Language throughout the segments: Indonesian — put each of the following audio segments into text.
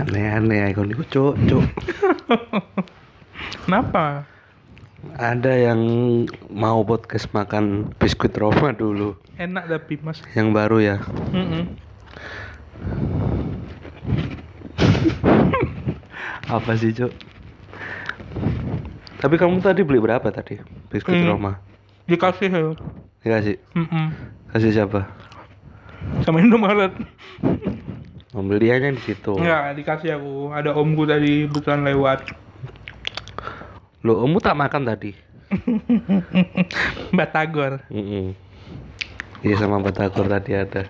aneh ikon itu cuk cuk Kenapa? ada yang mau podcast makan biskuit Roma dulu Enak tapi mas. yang baru ya Mm-mm. apa sih cuk tapi kamu tadi beli berapa tadi biskuit Hmm. Roma Dikasih ya. dikasih Mm-mm. kasih siapa Sama Indomaret. pembeliannya di situ Enggak, dikasih aku. Ada omku tadi kebetulan lewat. lo kamu tak makan tadi Batagor. Mm-mm. Iya sama batagor tadi ada.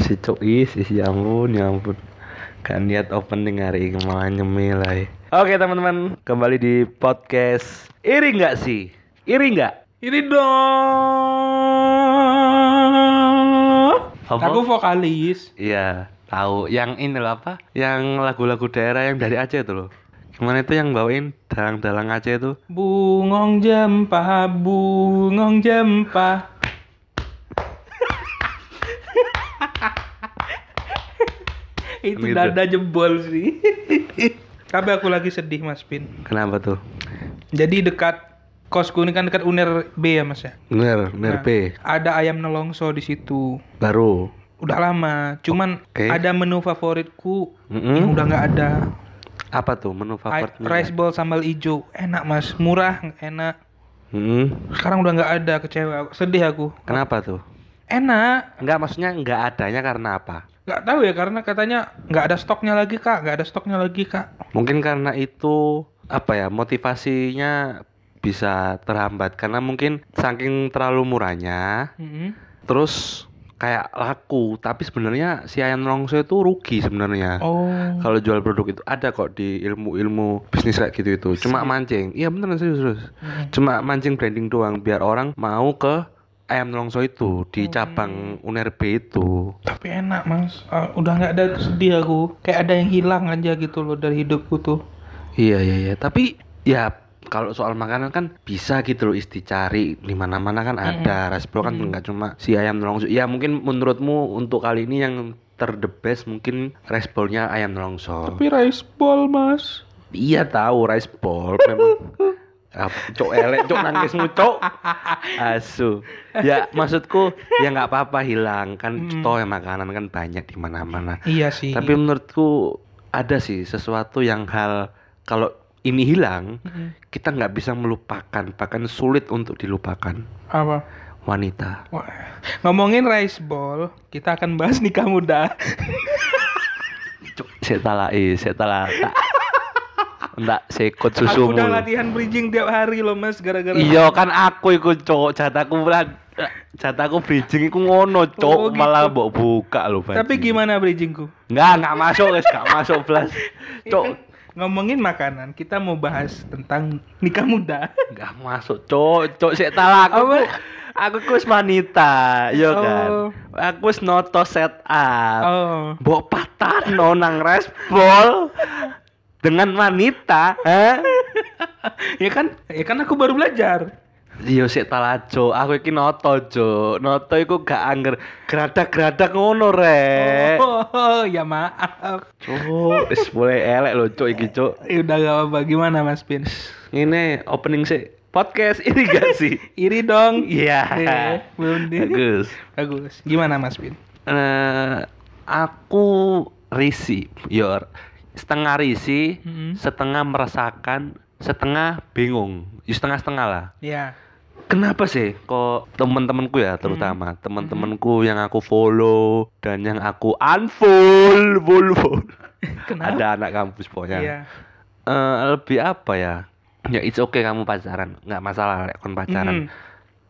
Si cok is, is ya ampun, ya ampun. Kan niat opening hari ini malah nyemil ay. Oke teman-teman, kembali di podcast Iri nggak sih? Iri nggak? Ini dong. Apa? Aku vokalis. Iya, tahu. Yang ini loh apa? Yang lagu-lagu daerah yang dari Aceh itu loh. Gimana itu yang bawain dalang-dalang Aceh itu? Bungong jempa, bungong jempa. Itu Gitu. dada jebol sih. Tapi aku lagi sedih Mas Pin. Kenapa tuh? Jadi dekat kosku ini kan dekat Uner B ya Mas ya. Bener, bener Nah, P. Ada ayam nelongso di situ. Baru. Udah lama, cuman Oke. ada menu favoritku yang Mm-mm. udah nggak ada. Apa tuh menu Ay- favoritnya? rice ball sambal ijo, enak Mas, murah, enak. Mm-mm. Sekarang udah nggak ada, kecewa, aku. sedih aku. Kenapa tuh? enak Enggak, maksudnya enggak adanya karena apa? nggak tahu ya karena katanya nggak ada stoknya lagi kak nggak ada stoknya lagi kak Mungkin karena itu apa ya motivasinya bisa terhambat karena mungkin saking terlalu murahnya Mm-mm. terus kayak laku tapi sebenarnya si ayam longso itu rugi sebenarnya oh kalau jual produk itu ada kok di ilmu-ilmu bisnis kayak gitu itu cuma mancing iya beneran serius, serius. Mm-mm. cuma mancing branding doang biar orang mau ke ayam longso itu di cabang Unerbe itu tapi enak mas Ah, udah nggak ada sedih aku kayak ada yang hilang aja gitu loh dari hidupku tuh Iya iya iya, tapi ya kalau soal makanan kan bisa gitu loh isti cari di mana-mana kan ada. Rasbro kan nggak cuma si ayam nelongso. Ya mungkin menurutmu untuk kali ini yang terdebes mungkin rice ball-nya ayam nelongso. tapi rice ball mas Iya tahu rice ball memang Apa, cok elek cok nangismu cok asu ya maksudku ya nggak apa-apa hilang kan toh ya makanan kan banyak di mana-mana iya sih tapi menurutku ada sih sesuatu yang hal kalau ini hilang Mm-mm. kita nggak bisa melupakan bahkan sulit untuk dilupakan apa wanita Wah. ngomongin rice ball kita akan bahas nikah muda cuk setalai setalai tak enggak sekot aku susumu udah latihan bridging tiap hari loh mas gara-gara iya kan aku iku cok jataku lah jataku bridging iku ngono cok Oh, gitu. malah mbok buka lo tapi gimana bridgingku kan enggak enggak masuk guys enggak masuk belas cok ngomongin makanan kita mau bahas tentang nikah muda Gak masuk, cok, cok, sik talak aku. Apa? ku- Aku kus wanita, yo kan. Oh. Aku wis noto set up. oh Mbok patahno nang respol dengan wanita, ha? ya kan ya kan aku baru belajar Yo sik talak, Cok. Aku iki noto, Cok. Noto iku gak angger geradak-geradak ngono, rek. oh ya maaf Cok, wis boleh elek lho, Cok iki, Cok. ya udah gak apa-apa gimana mas Pin Ngene opening sik podcast ini gak sih? iri dong Iya. Eh, belum di Bagus. bagus gimana mas Pin eh aku risi, yor setengah risi, Mm-mm. setengah meresahkan, setengah bingung, Ya, setengah-setengah lah. ya Kenapa sih kok temen-temenku ya terutama temen-temenku yang aku follow dan yang aku unfollow, follow, follow. kenapa ada anak kampus pokoknya. Iya. Eh, lebih apa ya? Ya it's okay kamu pacaran, nggak masalah lek kon pacaran. Mm-mm.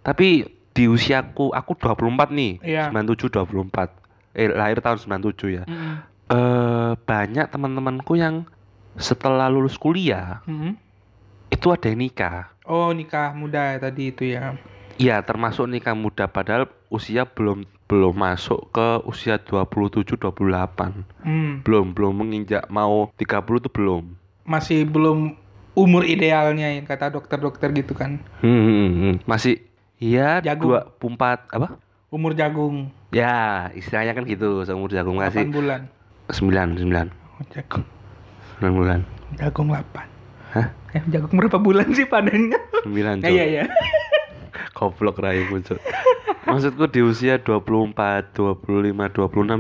Tapi di usiaku, aku 24 nih, Iya. 97 24. Eh lahir tahun 97 ya. Mm-mm. Eh banyak teman-temanku yang setelah lulus kuliah Mm-mm. itu ada yang nikah. oh nikah muda ya tadi itu ya Iya, termasuk nikah muda padahal usia belum belum masuk ke usia 27 28. Hmm, Belum belum menginjak mau 30 tuh belum. masih belum umur idealnya yang kata dokter-dokter gitu kan Hmm, hmm, hmm. masih iya Jagung. 24 apa? umur jagung Ya, istilahnya kan gitu seumur jagung 8 kasih. bulan Oh, sembilan sembilan jagung sembilan bulan jagung 8 hah eh jagung berapa bulan sih padanya sembilan ya ya Cuk. ya goblok rai muncul maksudku di usia 24, 25, 26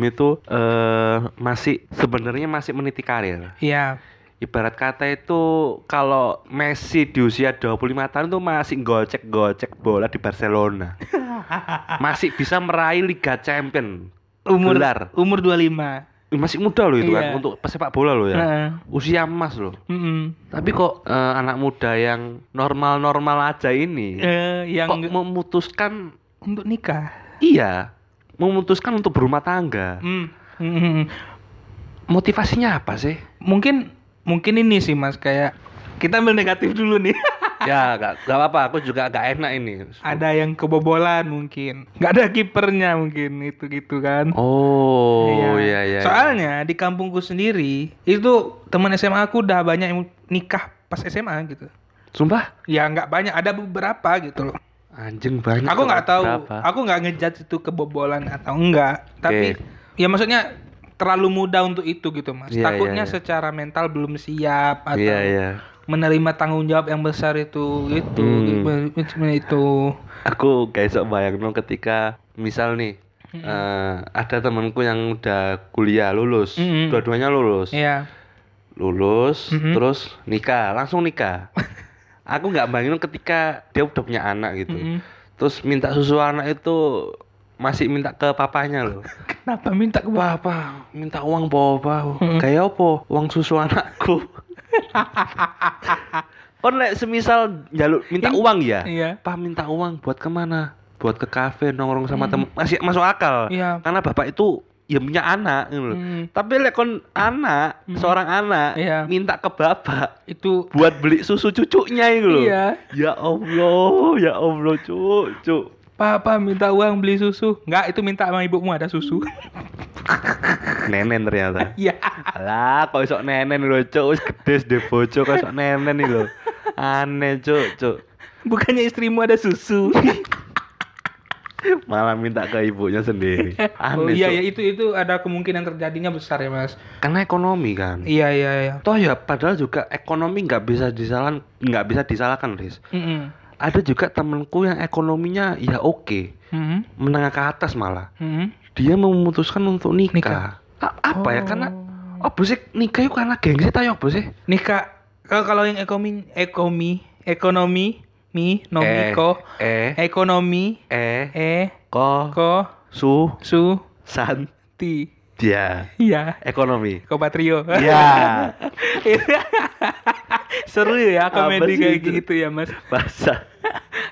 itu eh masih sebenarnya masih meniti karir iya ibarat kata itu kalau Messi di usia 25 tahun tuh masih gocek-gocek bola di Barcelona masih bisa meraih Liga Champion umur Gelar. umur 25 Ih, masih muda loh itu Iya. Nah. kan untuk pesepak bola loh ya Heeh. usia emas loh Mm-mm. tapi kok eh, anak muda yang normal-normal aja ini Eh, yang Iya. kok memutuskan untuk nikah Iya, memutuskan untuk berumah tangga. Mm. Mm-mm. Motivasinya apa sih? mungkin mungkin ini sih mas kayak kita ambil negatif dulu nih ya, gak, gak apa-apa. Aku juga gak enak ini. ada yang kebobolan mungkin nggak ada kipernya mungkin itu gitu kan Oh, iya, iya. soalnya di kampungku sendiri itu teman SMA aku udah banyak yang nikah pas SMA gitu Sumpah? ya nggak banyak ada beberapa gitu loh Anjing banyak. aku nggak tahu Berapa? aku nggak ngejudge itu kebobolan atau enggak tapi Oke. ya maksudnya terlalu muda untuk itu gitu mas Iya, iya, takutnya iya. secara mental belum siap atau Iya, iya. menerima tanggung jawab yang besar itu gitu Hmm. gitu, macam itu Aku gak esok bayangno ketika misal nih eh, ada temanku yang udah kuliah lulus, Mm-mm. dua-duanya lulus, ya lulus, Mm-mm. terus nikah, langsung nikah. aku nggak bayangin ketika dia udah punya anak Mm-hmm. gitu. terus minta susu anak itu masih minta ke papanya loh kenapa minta ke bawah papa minta uang papa Hmm. kayak apa uang susu anakku kon lek semisal jaluk minta Ini- uang ya iya pa minta uang buat kemana buat ke kafe nongkrong sama temen masih masuk akal Mm-hmm. iya karena bapak itu ya punya anak gitu loh. Hmm. tapi lek kon anak Hmm. seorang anak Iya. minta ke bapak itu buat beli susu cucunya itu loh iya ya allah ya allah cuk cuk papa minta uang beli susu nggak itu minta sama ibumu ada susu nenen ternyata iya Alah, kok isok nenen lho, Cuk. Wis gede wis ndek bojo kok isok nenen iki lho. Aneh, Cuk, Cuk. bukannya istrimu ada susu Malah minta ke ibunya sendiri. oh, Aneh, iya ya Cuk. itu itu ada kemungkinan terjadinya besar ya mas Karena ekonomi kan. iya iya iya Toh ya padahal juga ekonomi nggak bisa disalahkan, nggak bisa disalahkan, Riz. Mm-mm. Ada juga temenku yang ekonominya ya oke, Mm-mm. menengah ke atas malah. Mm-mm. Dia memutuskan untuk Nikah. nikah. A- apa ya? Oh. Karena apa sih nikah itu karena gengsi ta ya apa sih? nih kak kalau kalau yang ekonomi ekonomi ekonomi mi nomiko eh ekonomi eh, eh e ko ko su su san ti dia iya ekonomi kopatrio Iya. seru ya Apa komedi sih kayak itu? gitu ya mas Bahasa.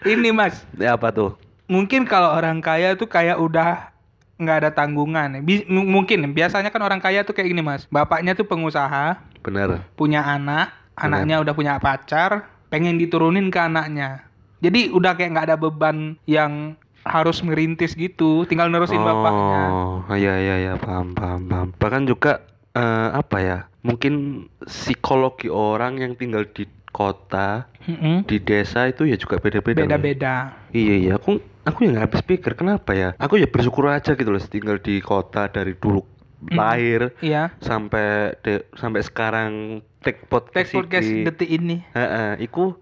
ini mas Ya apa tuh? mungkin kalau orang kaya tuh kayak udah nggak ada tanggungan Bi- m- mungkin biasanya kan orang kaya tuh kayak gini mas bapaknya tuh pengusaha Bener. punya anak Benar. anaknya udah punya pacar pengen diturunin ke anaknya jadi udah kayak nggak ada beban yang harus merintis gitu tinggal nerusin bapaknya Oh, iya iya iya paham paham paham. Bahkan juga eh, apa ya? Mungkin psikologi orang yang tinggal di kota, Mm-mm. di desa itu ya juga beda-beda. loh. beda-beda Iya iya, aku aku yang habis pikir kenapa ya? Aku ya bersyukur aja gitu loh tinggal di kota dari dulu lahir iya sampai de- sampai sekarang take podcast teks podcast iki. detik ini Heeh, iku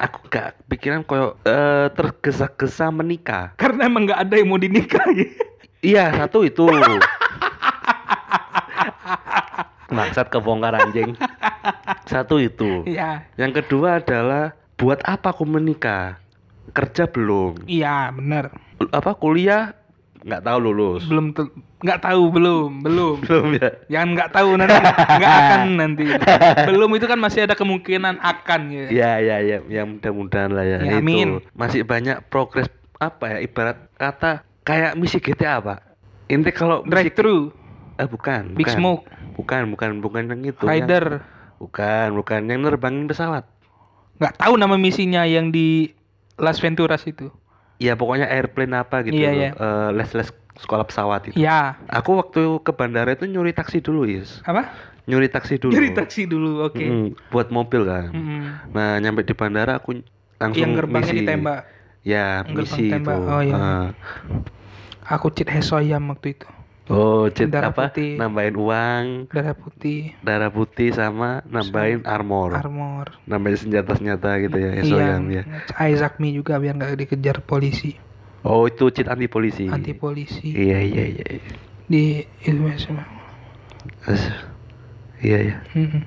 aku gak pikiran koyo eh, tergesa-gesa menikah. karena emang nggak ada yang mau dinikahi Iya, satu itu. Maksud kebongkar anjing. Satu itu. iya Yang kedua adalah buat apa aku menikah? Kerja belum. iya bener Apa kuliah nggak tahu lulus. belum te- nggak tahu belum belum Belum ya. Jangan nggak tahu nanti nggak akan nanti. Belum itu kan masih ada kemungkinan akan gitu. Ya ya ya, ya mudah-mudahan lah ya. Itu. Ya, amin. Masih banyak progres apa ya ibarat kata kayak misi GTA, Pak. Inti kalau misi Drive thru, Eh bukan, Big bukan. Smoke, Bukan, bukan, bukan yang itu. Yang, Rider. bukan, bukan yang nerbangin pesawat. Nggak tahu nama misinya yang di Las Venturas itu. Ya pokoknya airplane apa gitu. Iya, loh. iya. Eh, les-les sekolah pesawat itu. Ya, Aku waktu ke bandara itu nyuri taksi dulu, Is. apa? Nyuri taksi dulu. Jadi taksi dulu, oke. Mm, buat mobil kan. Mm-mm. Nah, nyampe di bandara aku langsung Yang gerbangnya misi. ditembak. Ya, Gerbang misi itu. tembak, oh, iya. Eh, Aku cheat Hesoyam waktu itu. Oh, cet Darah apa? putih. Nambahin uang, darah putih darah putih sama nambahin armor. armor nambahin senjata-senjata gitu ya, iya SOM ya. Isaac Mi juga biar nggak dikejar polisi Oh, itu cheat anti polisi. anti polisi Iya, iya, iya. iya. di itu semua As- Iya, iya. Mm-mm.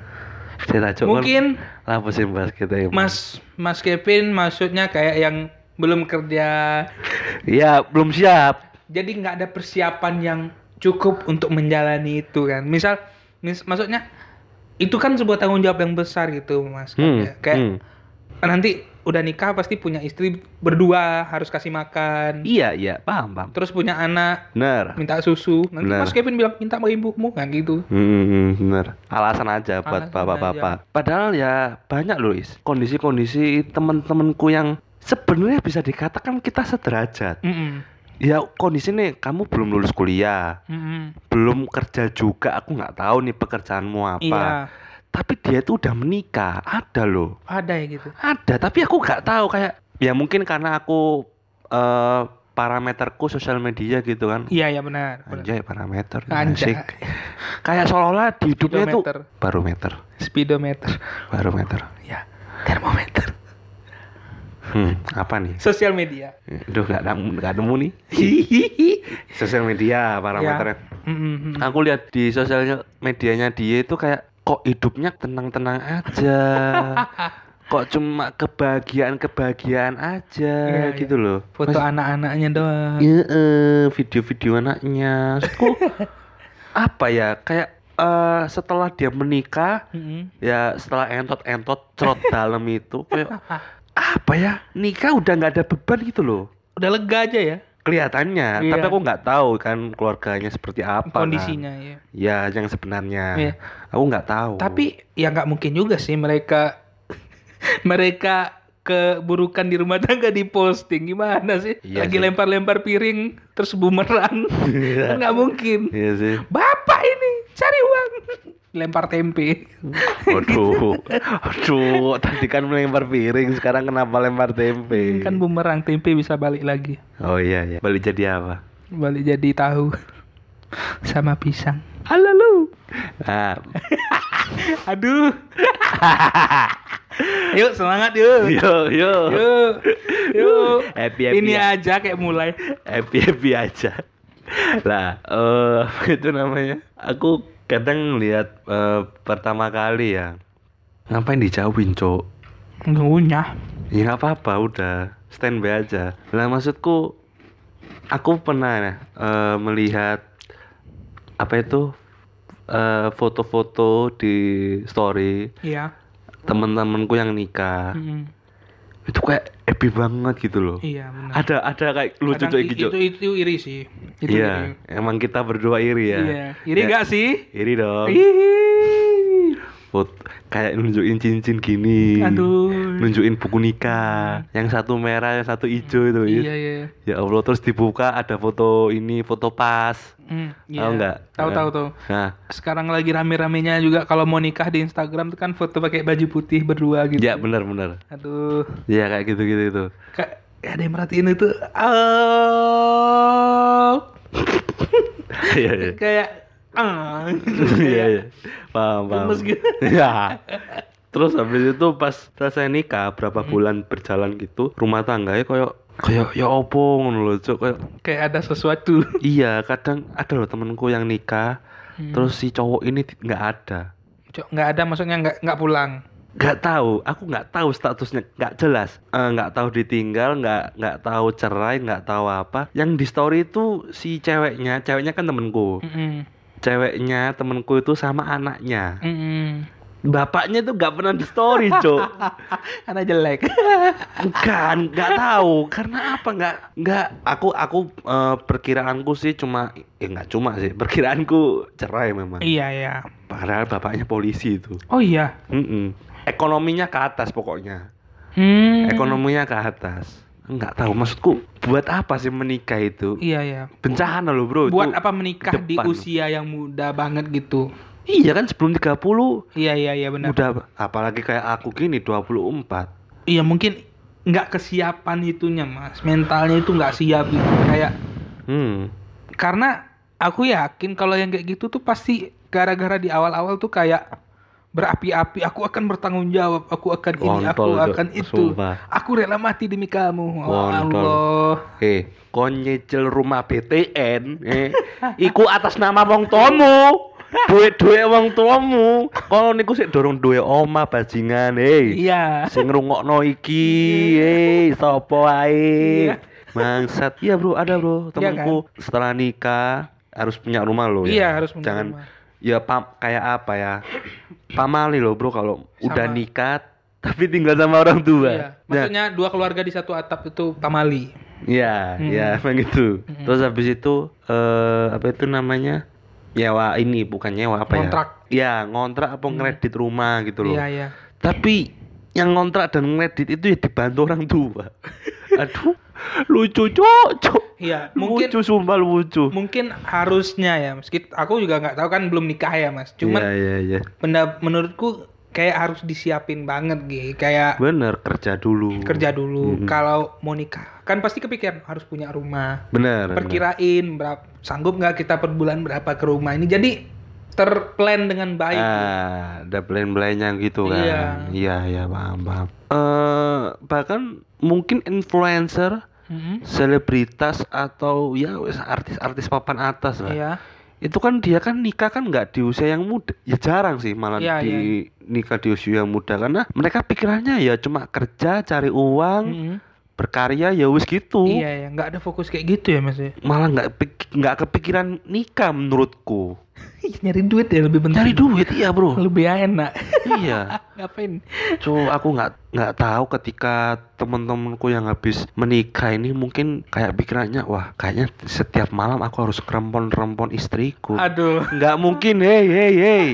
Saya tak cok, mungkin kan, lah musim basket ya. Mas Mas Kevin maksudnya kayak yang belum kerja Iya, belum siap. jadi nggak ada persiapan yang cukup untuk menjalani itu kan misal mis- maksudnya itu kan sebuah tanggung jawab yang besar gitu mas Hmm. kayak kayak hmm. nanti udah nikah pasti punya istri berdua harus kasih makan Iya, iya, paham, paham. terus punya anak Benar. minta susu nanti Benar. mas Kevin bilang minta sama ibumu kan gitu Hmm, benar. Alasan aja buat Alasan iya. bapak-bapak. Padahal ya banyak loh, Is. Kondisi-kondisi temen-temenku yang sebenarnya bisa dikatakan kita sederajat. Mm-mm. Ya kondisi nih, kamu belum lulus kuliah, Mm-mm. belum kerja juga. Aku nggak tahu nih pekerjaanmu apa. iya Tapi dia tuh udah menikah, ada loh. ada ya gitu Ada, tapi aku nggak tahu kayak ya mungkin karena aku eh parameterku sosial media gitu kan. iya ya benar benar. Anjay parameter Anjay. asik. Kayak seolah-olah di hidupnya tuh Speedometer. barometer, speedometer barometer. ya termometer Hmm, apa nih? sosial media Duh, nggak nemu, nggak nemu nih. Ya. Sosial media parameternya. Ya. Mm-mm. Aku lihat di sosial medianya dia itu kayak kok hidupnya tenang-tenang aja. kok cuma kebahagiaan-kebahagiaan aja Iya, gitu loh. foto Mas- anak-anaknya doang Iya, eh, video-video anaknya. Maksudku, apa ya? Kayak eh, setelah dia menikah, Mm-mm. ya setelah entot-entot cerot dalam itu kayak apa ya nikah udah nggak ada beban gitu loh udah lega aja ya kelihatannya Iya. tapi aku nggak tahu kan keluarganya seperti apa kan. kondisinya ya ya yang sebenarnya Iya. aku nggak tahu tapi ya nggak mungkin juga sih mereka mereka keburukan di rumah tangga di posting gimana sih Iya lagi sih. lempar-lempar piring terus bumerang Kan nggak mungkin iya sih bapak ini cari uang lempar tempe aduh aduh tadi kan melempar piring sekarang kenapa lempar tempe kan bumerang tempe bisa balik lagi oh iya iya balik jadi apa balik jadi tahu sama pisang halo lu nah, aduh yuk semangat yuk yo yo yuk yuk Happy, happy ini ya. aja kayak mulai happy happy aja lah eh apa itu namanya aku kadang lihat eh, pertama kali ya ngapain dijauhin cok ngunyah ya nggak apa-apa udah stand by aja lah maksudku aku pernah ya, eh, melihat apa itu eh, foto-foto di story iya teman-temanku yang nikah Mm-mm. itu kayak happy banget gitu loh Hmm. iya benar ada ada kayak lucu Kadang cok i- gitu itu, itu iri sih itu Iya, emang kita berdua iri iri. ya. iya iri Ya, nggak sih Iri dong. Ih. Foto kayak nunjukin cincin gini. aduh Nunjukin buku nikah. Yang satu merah, yang satu hijau itu. Is. iya iya Ya Allah, terus dibuka ada foto ini, foto pas. Mm, iya. Tahu nggak? tahu Nah. tahu tahu Nah, sekarang lagi rame-ramenya juga kalau mau nikah di Instagram tuh kan foto pakai baju putih berdua gitu ya benar-benar. aduh Ya kayak gitu-gitu itu. Kak, ya ada yang merhatiin itu oh Iya, iya. kayak ah Iya, iya. Paham, paham. Gemes gitu. Ya. Terus habis itu pas selesai nikah, berapa Hmm. bulan berjalan gitu, rumah tangganya koyo kayak ya opo ngono lho, Cuk, kayak kayak ada sesuatu Iya, kadang ada loh temenku yang nikah, Hmm. terus si cowok ini ti- nggak ada. Cok, nggak ada maksudnya nggak nggak pulang Nggak tahu, aku nggak tahu statusnya, nggak jelas. Eh, Nggak tahu ditinggal, nggak nggak tahu cerai, nggak tahu apa. Yang di story itu si ceweknya, ceweknya kan temenku. Mm-mm. Ceweknya temenku itu sama anaknya. Mm-mm. Bapaknya itu nggak pernah di story, cok. Anak jelek. Bukan, nggak tahu. Karena apa? Nggak nggak. Aku aku eh, perkiraanku sih cuma, eh nggak cuma sih. Perkiraanku cerai memang. iya ya. Padahal bapaknya polisi itu. Oh iya. Mm-mm. Ekonominya ke atas pokoknya. Hmm. Ekonominya ke atas. Enggak tahu maksudku buat apa sih menikah itu? Iya ya. Bencana loh, Bro. Oh, Buat Itu- apa menikah di depan. usia yang muda banget gitu? Iya kan sebelum 30 Iya iya iya benar. udah apalagi kayak aku gini 24. Iya mungkin nggak kesiapan itunya mas. Mentalnya itu nggak siap gitu. Kayak Hmm. karena aku yakin kalau yang kayak gitu tuh pasti gara-gara di awal-awal tuh kayak berapi-api aku akan bertanggung jawab aku akan ini aku Kontol, Cok. akan itu Sumpah. aku rela mati demi kamu oh, Kontol. Allah Eh, kon nyicil rumah BTN, eh, iku atas nama wong tuamu. Duit-duit wong tuamu. Kon niku sik dorong duwe oma bajingan, eh. iya Sing ngrungokno iki, eh, sapa ae? Iya. Bangsat. Iya, Bro, ada, Bro. Iya, Temanku setelah nikah harus punya rumah loh ya. Iya, harus punya Jangan rumah. ya pam kayak apa ya? Pamali loh, Bro, kalau udah Sama. nikah tapi tinggal sama orang iya tua. Nah, maksudnya dua keluarga di satu atap itu pamali Iya, Hmm. iya emang gitu. Hmm. Terus habis itu eh apa itu namanya? Nyewa ini bukan nyewa apa Ngontrak. Hmm. ya? Iya, ngontrak apa ngredit rumah gitu loh. iya iya Tapi yang ngontrak dan ngredit itu ya dibantu orang tua. Aduh, lucu cocok. iya mungkin lucu sumpah lucu. mungkin harusnya ya meski aku juga nggak tahu kan belum nikah ya mas Iya, cuman iya, iya. benda- menurutku kayak harus disiapin banget gitu kayak Bener kerja dulu. kerja dulu Mm-mm. kalau mau nikah kan pasti kepikiran harus punya rumah Bener. bener. perkirain berapa sanggup nggak kita per bulan berapa ke rumah ini jadi terplan dengan baik Ah, ada plan-plannya gitu kan. Iya. iya, iya, paham, paham. Eh, bahkan mungkin influencer Mhm. selebritas atau ya wes artis-artis papan atas lah. iya Itu kan dia kan nikah kan nggak di usia yang muda. Ya jarang sih malah Iya, di nikah di usia yang muda karena mereka pikirannya ya cuma kerja, cari uang, Mhm. berkarya ya wis gitu. iya ya nggak ada fokus kayak gitu ya mas ya Malah nggak pik- nggak kepikiran nikah menurutku. nyari duit ya lebih penting Cari duit iya, Bro. lebih enak iya. ngapain Cu, aku nggak nggak tahu ketika temen-temenku yang habis menikah ini mungkin kayak pikirannya wah kayaknya setiap malam aku harus kerempon-rempon istriku. aduh Nggak mungkin, hei hei hei.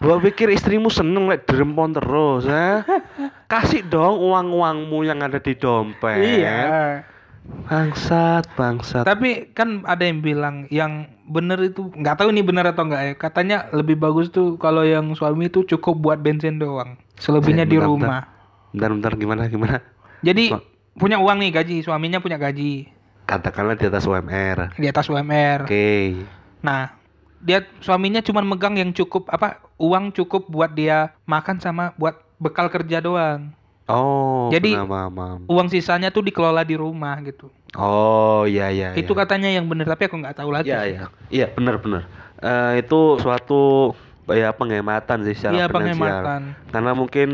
Gua pikir istrimu seneng lek dirempon terus, ha? Kasih dong uang-uangmu yang ada di dompet. iya Bangsat, bangsat. tapi kan ada yang bilang yang bener itu nggak tahu nih bener atau nggak ya katanya lebih bagus tuh kalau yang suami itu cukup buat bensin doang selebihnya Saya di bentar-bentar. rumah Bentar, bentar gimana gimana? Jadi Pak. punya uang nih gaji, suaminya punya gaji Katakanlah di atas UMR. di atas Oke. UMR. Nah, dia suaminya cuman megang yang cukup apa uang cukup buat dia makan sama buat bekal kerja doang. Oh, Jadi- pernah, paham, paham. Uang sisanya tuh dikelola di rumah gitu. Oh, iya iya. Itu iya. katanya yang bener tapi aku nggak tahu lagi. Iya sih. iya. Iya, benar benar. Eh, itu suatu ya penghematan sih secara Iya, finansial. penghematan. Karena mungkin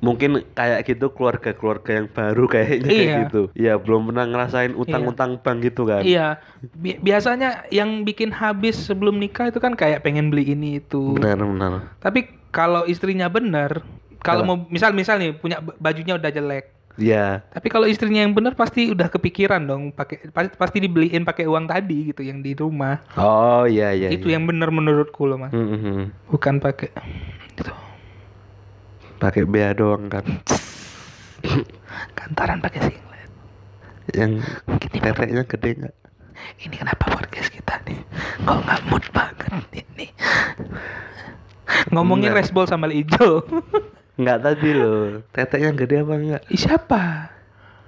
mungkin kayak gitu keluarga-keluarga yang baru kayaknya kayak Iya. gitu. Iya, belum pernah ngerasain utang-utang bank gitu kan. Iya. Bi- biasanya yang bikin habis sebelum nikah itu kan kayak pengen beli ini itu. Benar benar. Tapi kalau istrinya bener, kalau mau Kalau- misal-misal nih punya bajunya udah jelek, Iya. Tapi kalau istrinya yang benar pasti udah kepikiran dong pakai pasti, pasti dibeliin pakai uang tadi gitu yang di rumah. Oh, iya iya. itu ya. yang benar menurutku loh Mas. Mm, mm, mm. Bukan pakai gitu. Pakai bea doang kan. Kantaran pakai singlet. Yang teteknya gede nggak? Ini kenapa podcast kita nih? Kok nggak mood banget ini? Ngomongin Bener. resbol sama hijau. Nggak tadi loh. Teteknya gede apa enggak? Ih, Siapa?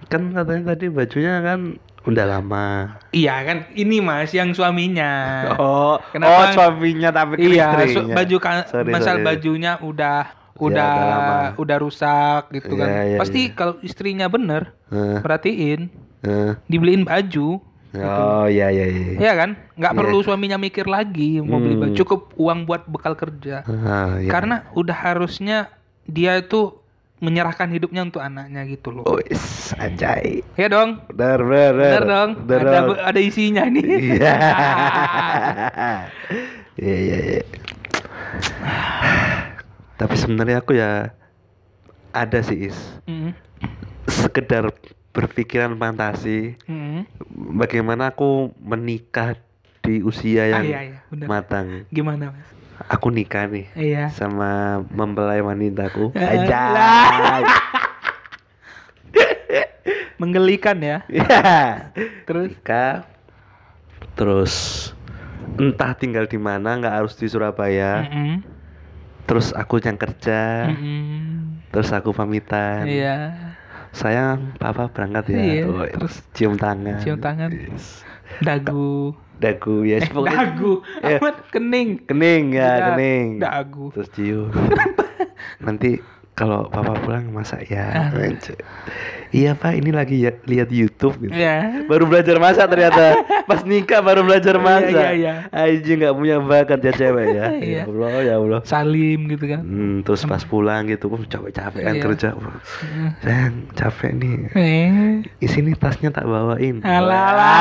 Kan katanya tadi bajunya kan udah lama. Iya kan ini Mas yang suaminya. Oh, oh Nah, Kenapa- suaminya tapi ke Iya, istrinya. so- baju kan Sorry, masal sorry. bajunya udah Ya, udah udah lama. udah rusak gitu kan. Iya, iya, Pasti iya. kalau istrinya bener Heeh, perhatiin heeh. dibeliin baju Oh iya iya iya. Gitu. ya kan nggak Iya. perlu suaminya mikir lagi mau beli Hmm. baju cukup uang buat bekal kerja Ah, iya. karena udah harusnya dia itu menyerahkan hidupnya untuk anaknya gitu Oh. loh Wis, anjay. ya dong Benar benar. bener dong ada be- ada isinya nih Iya. Iya iya iya. Tapi sebenarnya aku ya ada sih is. Mm, Sekedar berpikiran fantasi mm. bagaimana aku menikah di usia Ah, yang iya iya bener matang. gimana mas Aku nikah nih. iya sama mempelai wanitaku Eh, aja menggelikan ya terus terus nikah terus entah tinggal di mana nggak harus di Surabaya Mm-mm. terus aku yang kerja Mm-mm. terus aku pamitan Hmm. iya sayang papa berangkat ya Iya, Oh, terus cium tangan cium tangan. Yes. dagu dagu ya eh, pokoknya- dagu Iya. amat kening kening ya Da- kening dagu terus cium nanti kalau papa pulang masak ya Ah. Anjir. iya pak ini lagi ya, lihat YouTube gitu ya baru belajar masak ternyata pas nikah baru belajar Iya, masak iya, iya. Aji nggak punya bakat ya cewek ya Iya. ya Allah ya Allah salim gitu kan Hmm, terus pas pulang gitu wah, capek-capek kan Iya. kerja Wah, sayang capek nih eh sini tasnya tak bawain Alah, alah,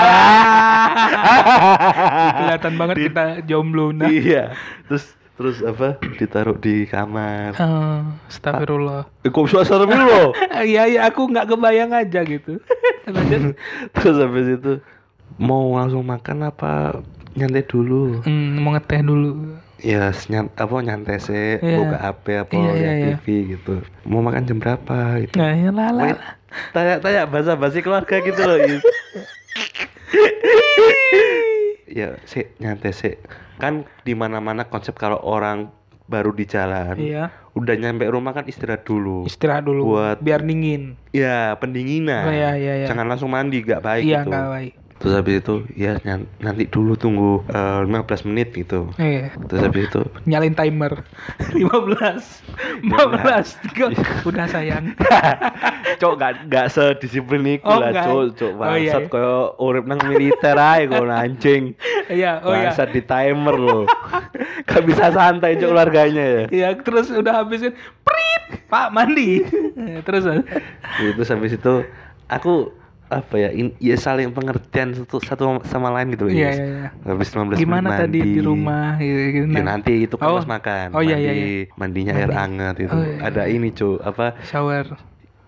Wah. kelihatan banget Di- kita jomblo nah iya terus terus apa ditaruh di kamar Eh, Astagfirullah eh, kok suasana dulu loh Iya iya aku nggak kebayang aja gitu. Lanjut. terus habis itu mau langsung makan apa nyantai dulu Hmm, mau ngeteh dulu. ya nyant apa nyantai sih Iya. buka HP apa Iya, lihat iya, iya. TV gitu mau makan jam berapa gitu Nah Wait, ya lala. tanya-tanya basa-basi keluarga gitu loh Is. ya sih nyantai sih kan di mana-mana konsep kalau orang baru di jalan Iya. udah nyampe rumah kan istirahat dulu Istirahat dulu. Buat- Biar dingin. ya pendinginan Oh, iya, iya, iya. jangan langsung mandi gak baik Iya gitu nggak baik. terus habis itu ya nyan- nanti dulu tunggu eh, 15 menit gitu Iya. terus habis itu Nyalin timer. Iya. 15. 15. Tiga. Udah sayang. cok gak gak sedisiplin itu Oh, lah nggak. cok cok Oh, iya, bangsat iya. koyo urip nang militer ae kono anjing Iya. Oh iya. bangsat di timer loh gak bisa santai cok keluarganya ya Iya terus udah habisin. Prit. Pak mandi. terus. eh, itu habis itu aku apa ya in- ya saling pengertian satu satu sama lain gitu loh Iya Yes. iya. iya. habis 15 menit Gimana tadi mandi. di rumah gitu, gitu. Ya Nah, nanti itu kan Oh. pas makan, Oh, iya, iya, mandi, mandinya air Mandi. hangat itu. Oh, iya, iya. Ada ini cuy, apa shower.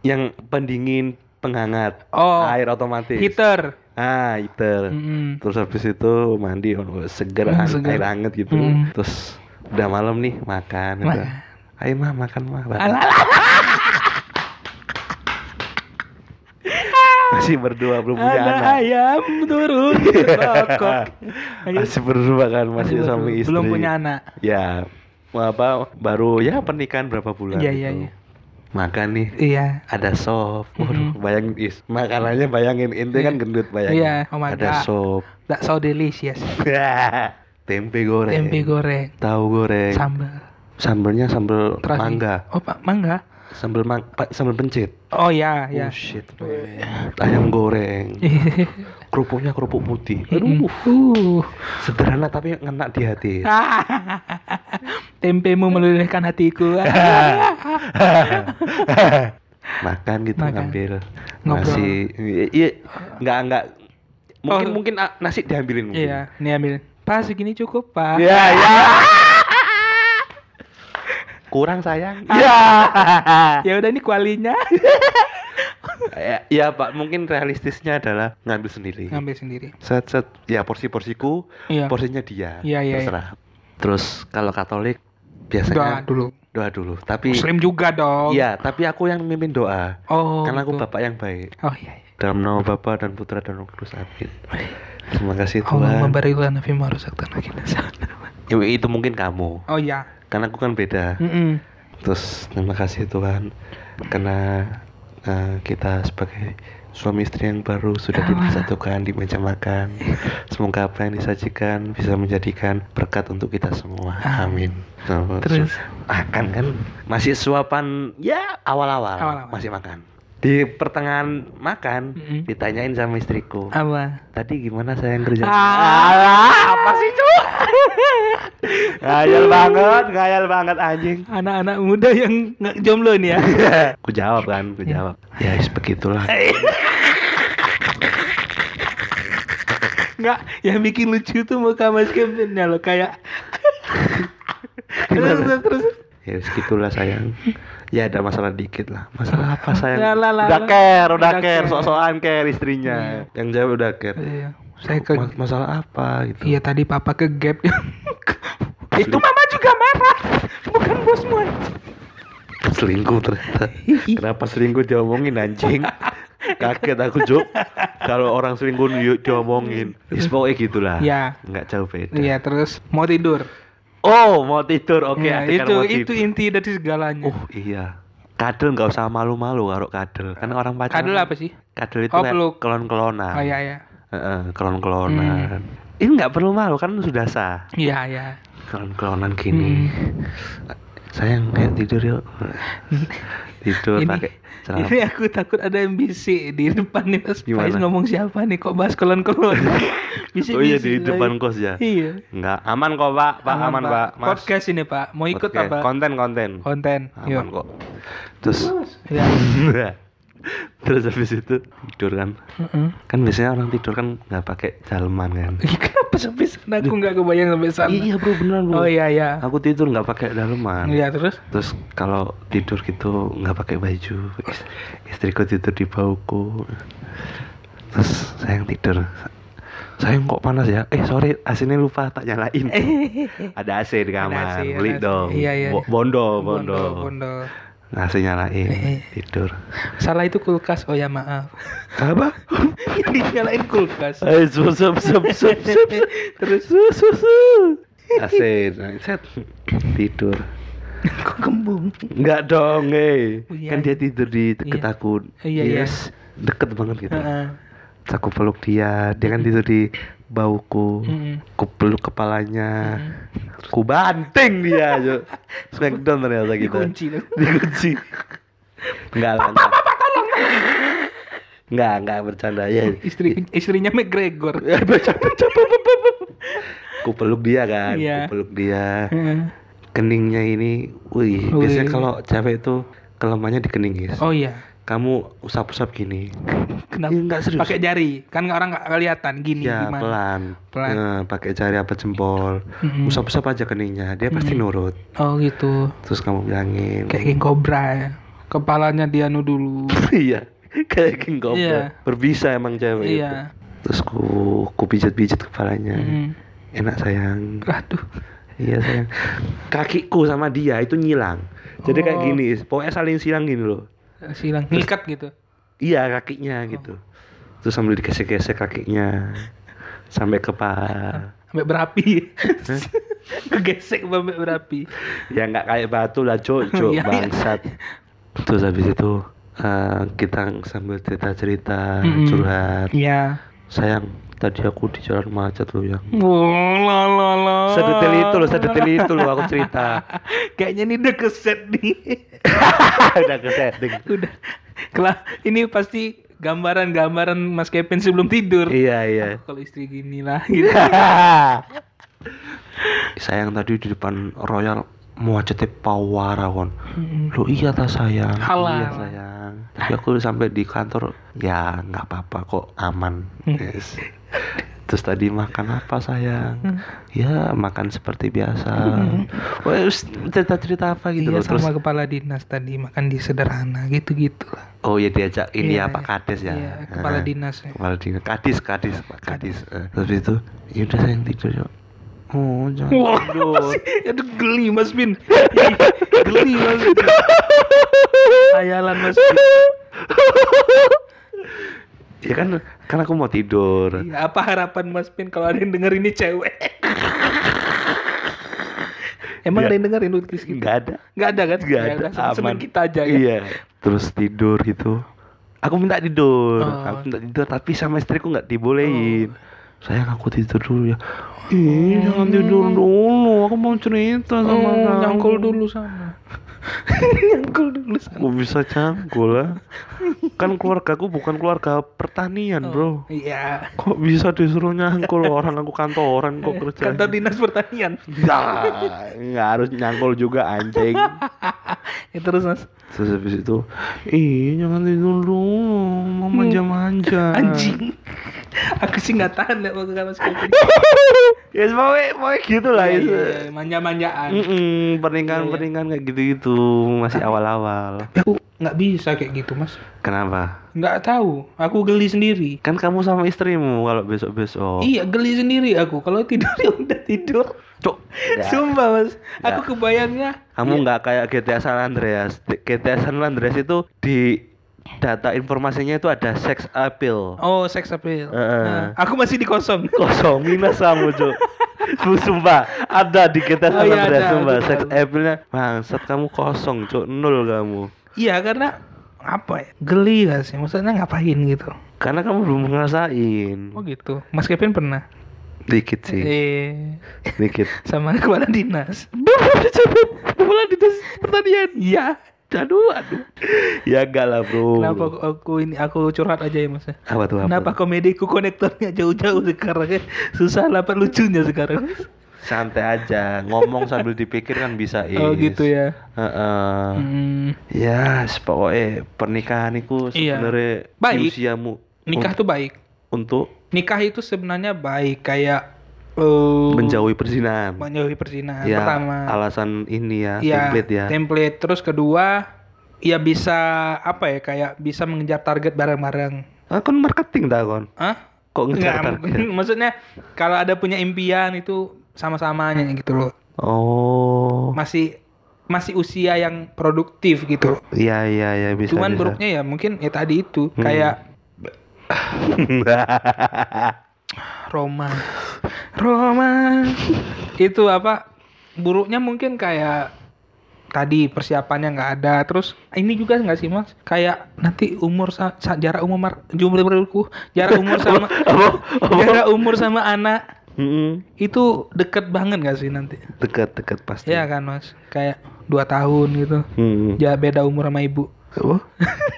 yang pendingin penghangat, Oh. air otomatis. Heater. Ah, heater. Mm-mm. Terus habis itu mandi oh, seger, Hmm, ang- seger. air hangat gitu. Hmm. Terus udah malam nih makan. Makan. Gitu. Ayo mah makan mah. Alah, Masih berdua belum punya Ada anak. ayam turun rokok. Ayo. Masih berdua kan, masih Aduh, suami istri. Belum punya anak. Ya, apa baru ya pernikahan berapa bulan Iya, gitu. iya, iya. Makan nih Iya. ada sop. Waduh, Mhm. bayangin is. Makanannya bayangin ente kan gendut bayangin. Iya, oh my ada God. sop. Gak so delicious. Tempe goreng. Tempe goreng, Tahu goreng. sambal, Sambelnya sambel terasi. mangga, Oh, Pak, mangga. sambel mang pa- sambel pencit. Oh Iya. ya, ya. Oh shit. Ayam goreng. Kerupuknya kerupuk putih. Aduh, Uh. Ah. sederhana tapi ngena di hati. Tempemu melelehkan hatiku. Makan gitu Makan. ngambil Ngobrol. nasi. Iya, Iya, enggak enggak mungkin Oh. mungkin ah, nasi diambilin mungkin. Iya, nih ambil. Pak, segini cukup, Pak. Ya, ya. Kurang sayang. Iya. Ya. Ya udah ini kualinya Iya. ya. ya, Pak, mungkin realistisnya adalah ngambil sendiri. ngambil sendiri. Set set ya porsi-porsiku, Iya. porsinya dia. Iya, iya, Terserah. Terus kalau Katolik Doa biasanya dulu. doa dulu, tapi Muslim juga dong. Iya, tapi aku yang mimpin doa. Oh. Karena aku gitu. bapak yang baik. Oh iya. iya. Dalam nama Bapa dan Putra dan Roh Kudus. Amin. Terima kasih Allah Tuhan. memberi lana fima rusaktan kita Ya, itu mungkin kamu. Oh iya. Karena aku kan beda. Mm-mm. Terus terima kasih Tuhan karena eh, kita sebagai suami istri yang baru sudah dipersatukan di meja makan. Semoga apa yang disajikan bisa menjadikan berkat untuk kita semua. Amin. Terus? akan kan masih suapan ya awal-awal Awal-awal. masih makan. Di pertengahan makan Mm-mm. ditanyain sama istriku. Apa? Tadi gimana saya yang kerja? Alah, Ah. apa sih cuk? Ngayal banget, ngayal banget anjing. Anak-anak muda yang nggak jomblo nih ya. ku jawab kan ku jawab ya is begitulah Nggak, yang bikin lucu tuh muka Mas Kevin ya lo kayak. terus Gimana? terus terus. ya is gitulah sayang ya ada masalah dikit lah masalah apa sayang Lah, lah, lah, udah lah. care udah Udah care care. sok-sokan care istrinya yang jawab udah care Iya, saya ke Mas- masalah apa gitu Iya tadi papa ke gap. Itu mama juga marah. Bukan bosmu. anjing. selingkuh ternyata kenapa selingkuh diomongin anjing kaget aku Juk kalau orang selingkuh di- diomongin is pokoknya gitulah Ya. nggak jauh beda Iya, terus mau tidur. oh mau tidur oke Iya, adegan itu mau itu tidur. Uh, inti dari segalanya. oh iya kadel nggak usah malu-malu karo kadel kan orang pacaran Kadel apa sih? kadel itu Oh, kayak peluk. kelon-kelonan Oh iya Hmm. iya. Heeh, kelon-kelonan ini nggak perlu malu kan sudah sah Iya iya. kelon-kelonan gini Hmm. sayang kayak tidur yuk tidur Ini- pakai celana Ini ya, aku takut ada yang bisik di depan nih Mas Gimana? Faiz ngomong siapa nih kok bahas kolon-kolon. Bisik-bisik oh iya di lagi. depan kos ya Iya. nggak aman kok pak pak aman, pak Mas. Podcast ini Pak. Mau ikut Podcast. apa? konten konten Konten. iya. aman Yuk. kok terus Iya. terus habis itu tidur kan Heeh. kan biasanya orang tidur kan nggak pakai daleman kan Ih, Kenapa sampai sana aku nggak kebayang sampai sana? iya bro beneran bro Oh iya iya. aku tidur nggak pakai daleman Iya terus? terus kalau tidur gitu nggak pakai baju Is- istriku tidur di bauku terus sayang tidur sayang kok panas ya eh sorry AC-nya lupa tak nyalain ada AC di kamar AC, Eh. ada beli AC. dong Iya, iya. Bo- bondo bondo, bondo. AC nyalain Eh. tidur Salah itu kulkas. Oh ya maaf. apa Nyalain kulkas. eh sup sup sup sup sup Terus su su su AC set tidur kok kembung? Enggak dong, eh. Bunyi Kan dia tidur di deket Oh, Iya. aku. Iya, iya. Yes. Deket banget gitu. Heeh. Terus Aku peluk dia, dia kan tidur di bauku. Mm-mm. Aku peluk kepalanya. Ku banting dia, Jo. Smackdown ternyata kita. Dikunci loh. Dikunci. Enggak lah. Enggak. Enggak, enggak bercanda ya. Istri istrinya McGregor. Ya, bercanda, bercanda, bercanda. Ku peluk dia kan, Iya. ku peluk dia Heeh. keningnya ini, wih, Wih. biasanya kalau cewek itu kelemahannya di kening ya. Oh iya. Kamu usap-usap gini, Kenapa? Iya, nggak serius. Pakai jari. Kan nggak- orang nggak kelihatan gini ya gimana. pelan, Pelan. Hmm. Eh, pakai jari apa jempol, Mm-mm. usap-usap aja keningnya, dia pasti nurut. Oh gitu. Terus kamu bilangin, Kayak King Cobra ya. Kepalanya dianu dulu. iya, kayak king cobra, Iya. berbisa emang cewek itu. iya. Terus ku, ku pijat-pijat kepalanya, Mm. enak sayang, Aduh. iya sayang. Kakiku sama dia itu nyilang, jadi kayak Oh. gini, pokoknya saling silang gini loh. Silang ngikat gitu. Iya Oh. kakinya gitu. Terus sambil digesek-gesek kakinya sampai kepala. Sampai berapi. Kegesek sampai berapi. ya nggak kayak batu lah, cok, cok, Iya, iya. bangsat. Terus habis itu eh, kita sambil cerita-cerita Mm-mm. Ah, curhat. Iya. Sayang, tadi aku di jalan macet loh yang. Wow, lo, lo, lo. Sedetail itu loh, sedetail itu loh aku cerita. Kayaknya ini udah keset nih. Udah kesetting. udah. Kelah, ini pasti gambaran-gambaran Mas Kevin sebelum tidur. Iya, iya. Aku Kalau istri gini lah gitu. Sayang tadi di depan Royal macetnya pawara kon. Lo iya ta sayang. Halal. Iya sayang. Tapi aku sampai di kantor ya nggak apa-apa kok aman. Hmm. Yes. Terus tadi makan apa sayang? Hmm. Ya makan seperti biasa. Wah, us- cerita-cerita apa gitu iya loh. Terus sama kepala dinas tadi makan di sederhana gitu-gitu lah. oh ya diajak ini Iya, ya Pak Kades ya. Iya, kepala Eh, dinas ya. Kepala dinas. Kadis, Kadis, Pak Kadis. Eh, Terus itu ya udah sayang tidur yuk. Oh, jangan Wah, tidur. apa sih? Aduh, geli Mas Bin. geli Mas Bin. Hayalan Mas Bin. ya kan kan aku mau tidur Iya, apa harapan Mas Pin kalau ada yang denger ini cewek? Emang Iya. ada yang dengerin podcast kita? nggak ada Nggak ada kan? nggak Ya ada udah, seneng aman. kita aja ya. iya terus tidur itu aku minta tidur Oh. aku minta tidur tapi sama istriku nggak dibolehin sayang aku tidur dulu ya Ih, jangan tidur dulu aku mau cerita Oh, sama kamu nyangkul dulu sama. nyangkul dulu sama. aku bisa cangkul lah kan keluargaku bukan keluarga pertanian Kan, bro Iya. kok bisa disuruh nyangkul orang aku kantoran Kan kok kerja Kantor dinas pertanian. Nah, nggak harus nyangkul juga anjing. Ya terus Mas. Terus habis itu, ih jangan tidur dulu, mau manja-manja. Hmm. Anjing. Aku sih nggak tahan lihat waktu Mas Kevin. ya mau mau gitu lah Iya, itu. iya, iya, Manja-manjaan. Mm-mm, pernikahan-pernikahan kayak gitu-gitu masih awal-awal. Aku nggak bisa kayak gitu Mas. Kenapa? Nggak tahu. Aku geli sendiri. Kan kamu sama istrimu kalau besok-besok. Iya geli sendiri aku kalau tidur ya udah tidur. Cuk. Sumpah mas, Ya. aku kebayangnya. Kamu nggak kayak GTA San Andreas. GTA San Andreas itu di data informasinya itu ada sex appeal. Oh seks appeal. Heeh. Nah, aku masih di kosong. kosong minus kamu cuk Su- sumpah ada di kita Oh, sama iya, Andreas, ada, sumpah betul. sex appeal-nya bangsat kamu kosong cuk nol kamu Iya karena apa ya? Geli gak sih? Maksudnya ngapain gitu? Karena kamu belum ngerasain. Oh gitu. Mas Kevin pernah? Dikit sih, Eh, dikit. sama kepala dinas. Bola dinas pertanian. Iya. Aduh, aduh. Ya enggak lah, Bro. Kenapa aku, aku ini aku curhat aja ya mas? ya? Apa tuh apa? Kenapa komediku konektornya jauh-jauh sekarang? ya? Susah dapat lucunya sekarang. Santai aja, ngomong sambil dipikir kan bisa, Is. Oh gitu iya. ya. Heeh. Hmm. Ya, yes, pokoknya pernikahan itu Iya. sebenarnya Baik. di usiamu Oh. Nikah tuh baik. untuk Nikah itu sebenarnya baik kayak eh, menjauhi perzinahan. menjauhi perzinahan ya, pertama. alasan ini ya, ya, template ya. template. Terus kedua, ya bisa apa ya kayak bisa mengejar target bareng-bareng. Ah, kan marketing dah kon. Hah? Kok ngejar Nggak, target? maksudnya kalau ada punya impian itu sama-samanya gitu loh. Oh. Masih masih usia yang produktif gitu. loh. Iya, iya, iya bisa. Cuman bisa. buruknya ya mungkin ya tadi itu Hmm. kayak Roma. Roma. itu apa? Buruknya mungkin kayak tadi persiapannya nggak ada. Terus ah, ini juga nggak sih mas? Kayak nanti umur sa- sa- jarak umur mar- jumlah berku jarak umur sama Apa? jarak umur sama anak Mm-mm. itu deket banget nggak sih nanti? Dekat, dekat pasti. Iya kan mas? Kayak dua tahun gitu. Hmm. Ya beda umur sama ibu. Apa?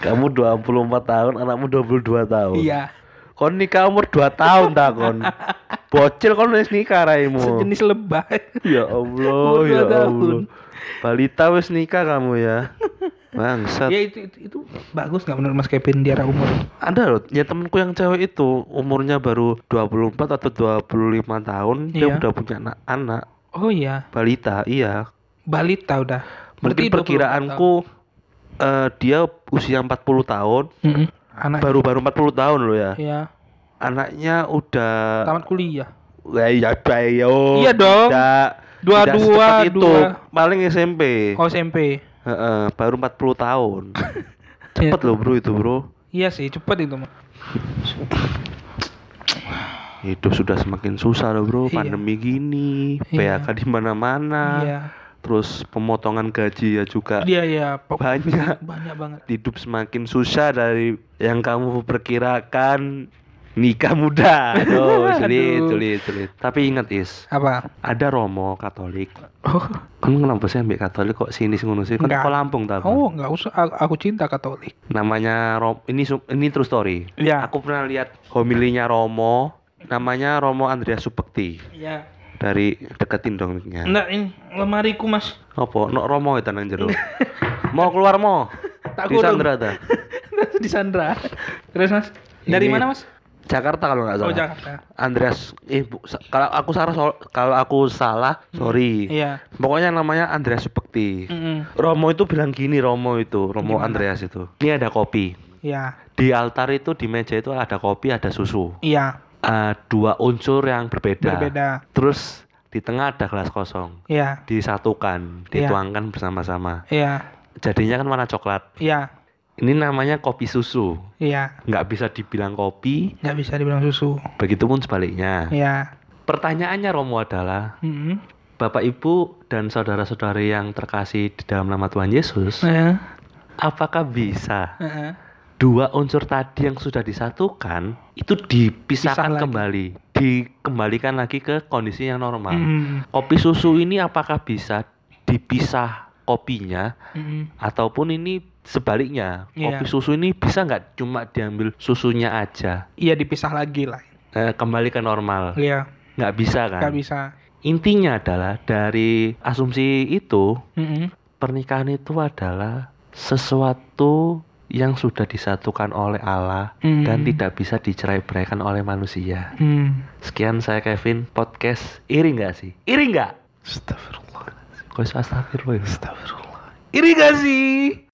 Kamu 24 tahun, anakmu 22 tahun. Iya. Kon nikah umur 2 tahun tak kon. Bocil kon wis nikah raimu. Sejenis lebah. Ya Allah, Umur ya dua tahun. Allah. Balita wis nikah kamu ya. Bangsat. ya itu, itu itu bagus nggak menurut mas Kevin jarak umur? Ada loh, ya temenku yang cewek itu umurnya baru 24 atau 25 tahun dia Iya. udah punya anak, anak Oh iya. balita, iya. Balita udah. Mungkin Berarti 24 tahun. Nah. perkiraanku eh, dia usia 40 tahun, Mm-mm. Anak baru-baru 40 tahun loh ya. ya Anaknya udah tamat kuliah. Eh, ya, bayo. Iya dong. Tidak, Dua- tidak dua- secepat itu. dua. Paling SMP. Oh SMP. Heeh, baru 40 tahun. Cepet Iya. loh bro itu bro. Iya sih, cepet itu. Mas. Hidup sudah semakin susah loh bro. Iya. Pandemi gini, Iya. PHK di mana-mana. Iya. Terus pemotongan gaji ya juga Dia ya pok- banyak. banyak banget. Hidup semakin susah dari yang kamu perkirakan nikah muda. Aduh, sulit, Aduh. sulit, sulit. Tapi ingat is, Apa? ada Romo Katolik. Oh, Kan kenapa sih ambek Katolik kok sinis ngono sih? Kan Enggak. kok Lampung ta. Bang? oh nggak usah. Aku, aku cinta Katolik. Namanya Rom ini su- ini true story. Iya. Aku pernah lihat homilinya Romo, namanya Romo Andrea Subekti Iya. dari deketin dong mic-nya. Nggak ini lemariku mas. Apa? Nok Romo itu nang jero. mau keluar mo. Tak Di kurung. Sandra ta. Di Sandra. Terus mas? Dari Ini- mana mas? Jakarta kalau nggak Oh salah. Jakarta. Andreas eh bu- sa- kalau aku salah so- kalau aku salah sorry. Iya. Pokoknya namanya Andreas Subekti. Mm-mm. Romo itu bilang gini Romo itu, Romo Gimana? Andreas itu. Ini ada kopi. Iya. Di altar itu di meja itu ada kopi, ada susu. Iya. Eh, dua unsur yang berbeda. Berbeda. Terus di tengah ada gelas kosong. Iya. Disatukan, Iya. dituangkan bersama-sama. Iya. Jadinya kan warna coklat. Iya. Ini namanya kopi susu. Iya. Nggak bisa dibilang kopi, Nggak bisa dibilang susu. begitupun sebaliknya. Iya. Pertanyaannya Romo adalah, Mm-mm. Bapak Ibu dan saudara-saudari yang terkasih di dalam nama Tuhan Yesus, Iya. apakah bisa Heeh. dua unsur tadi yang sudah disatukan itu dipisahkan Pisah lagi. kembali, dikembalikan lagi ke kondisi yang normal. Mm-mm. Kopi susu ini apakah bisa dipisah kopinya Mm-mm. ataupun ini sebaliknya? Iya. Kopi susu ini bisa nggak cuma diambil susunya aja? Iya dipisah lagi lah. Eh, kembali ke normal. Iya. Nggak bisa kan? Nggak bisa. Intinya adalah dari asumsi itu Mm-mm. pernikahan itu adalah sesuatu yang sudah disatukan oleh Allah Hmm. dan tidak bisa dicerai-beraikan oleh manusia. Hmm. Sekian saya Kevin podcast iri nggak sih? Iri nggak? Astagfirullah. Kau astagfirullah. ya? Astagfirullah. Iri nggak sih?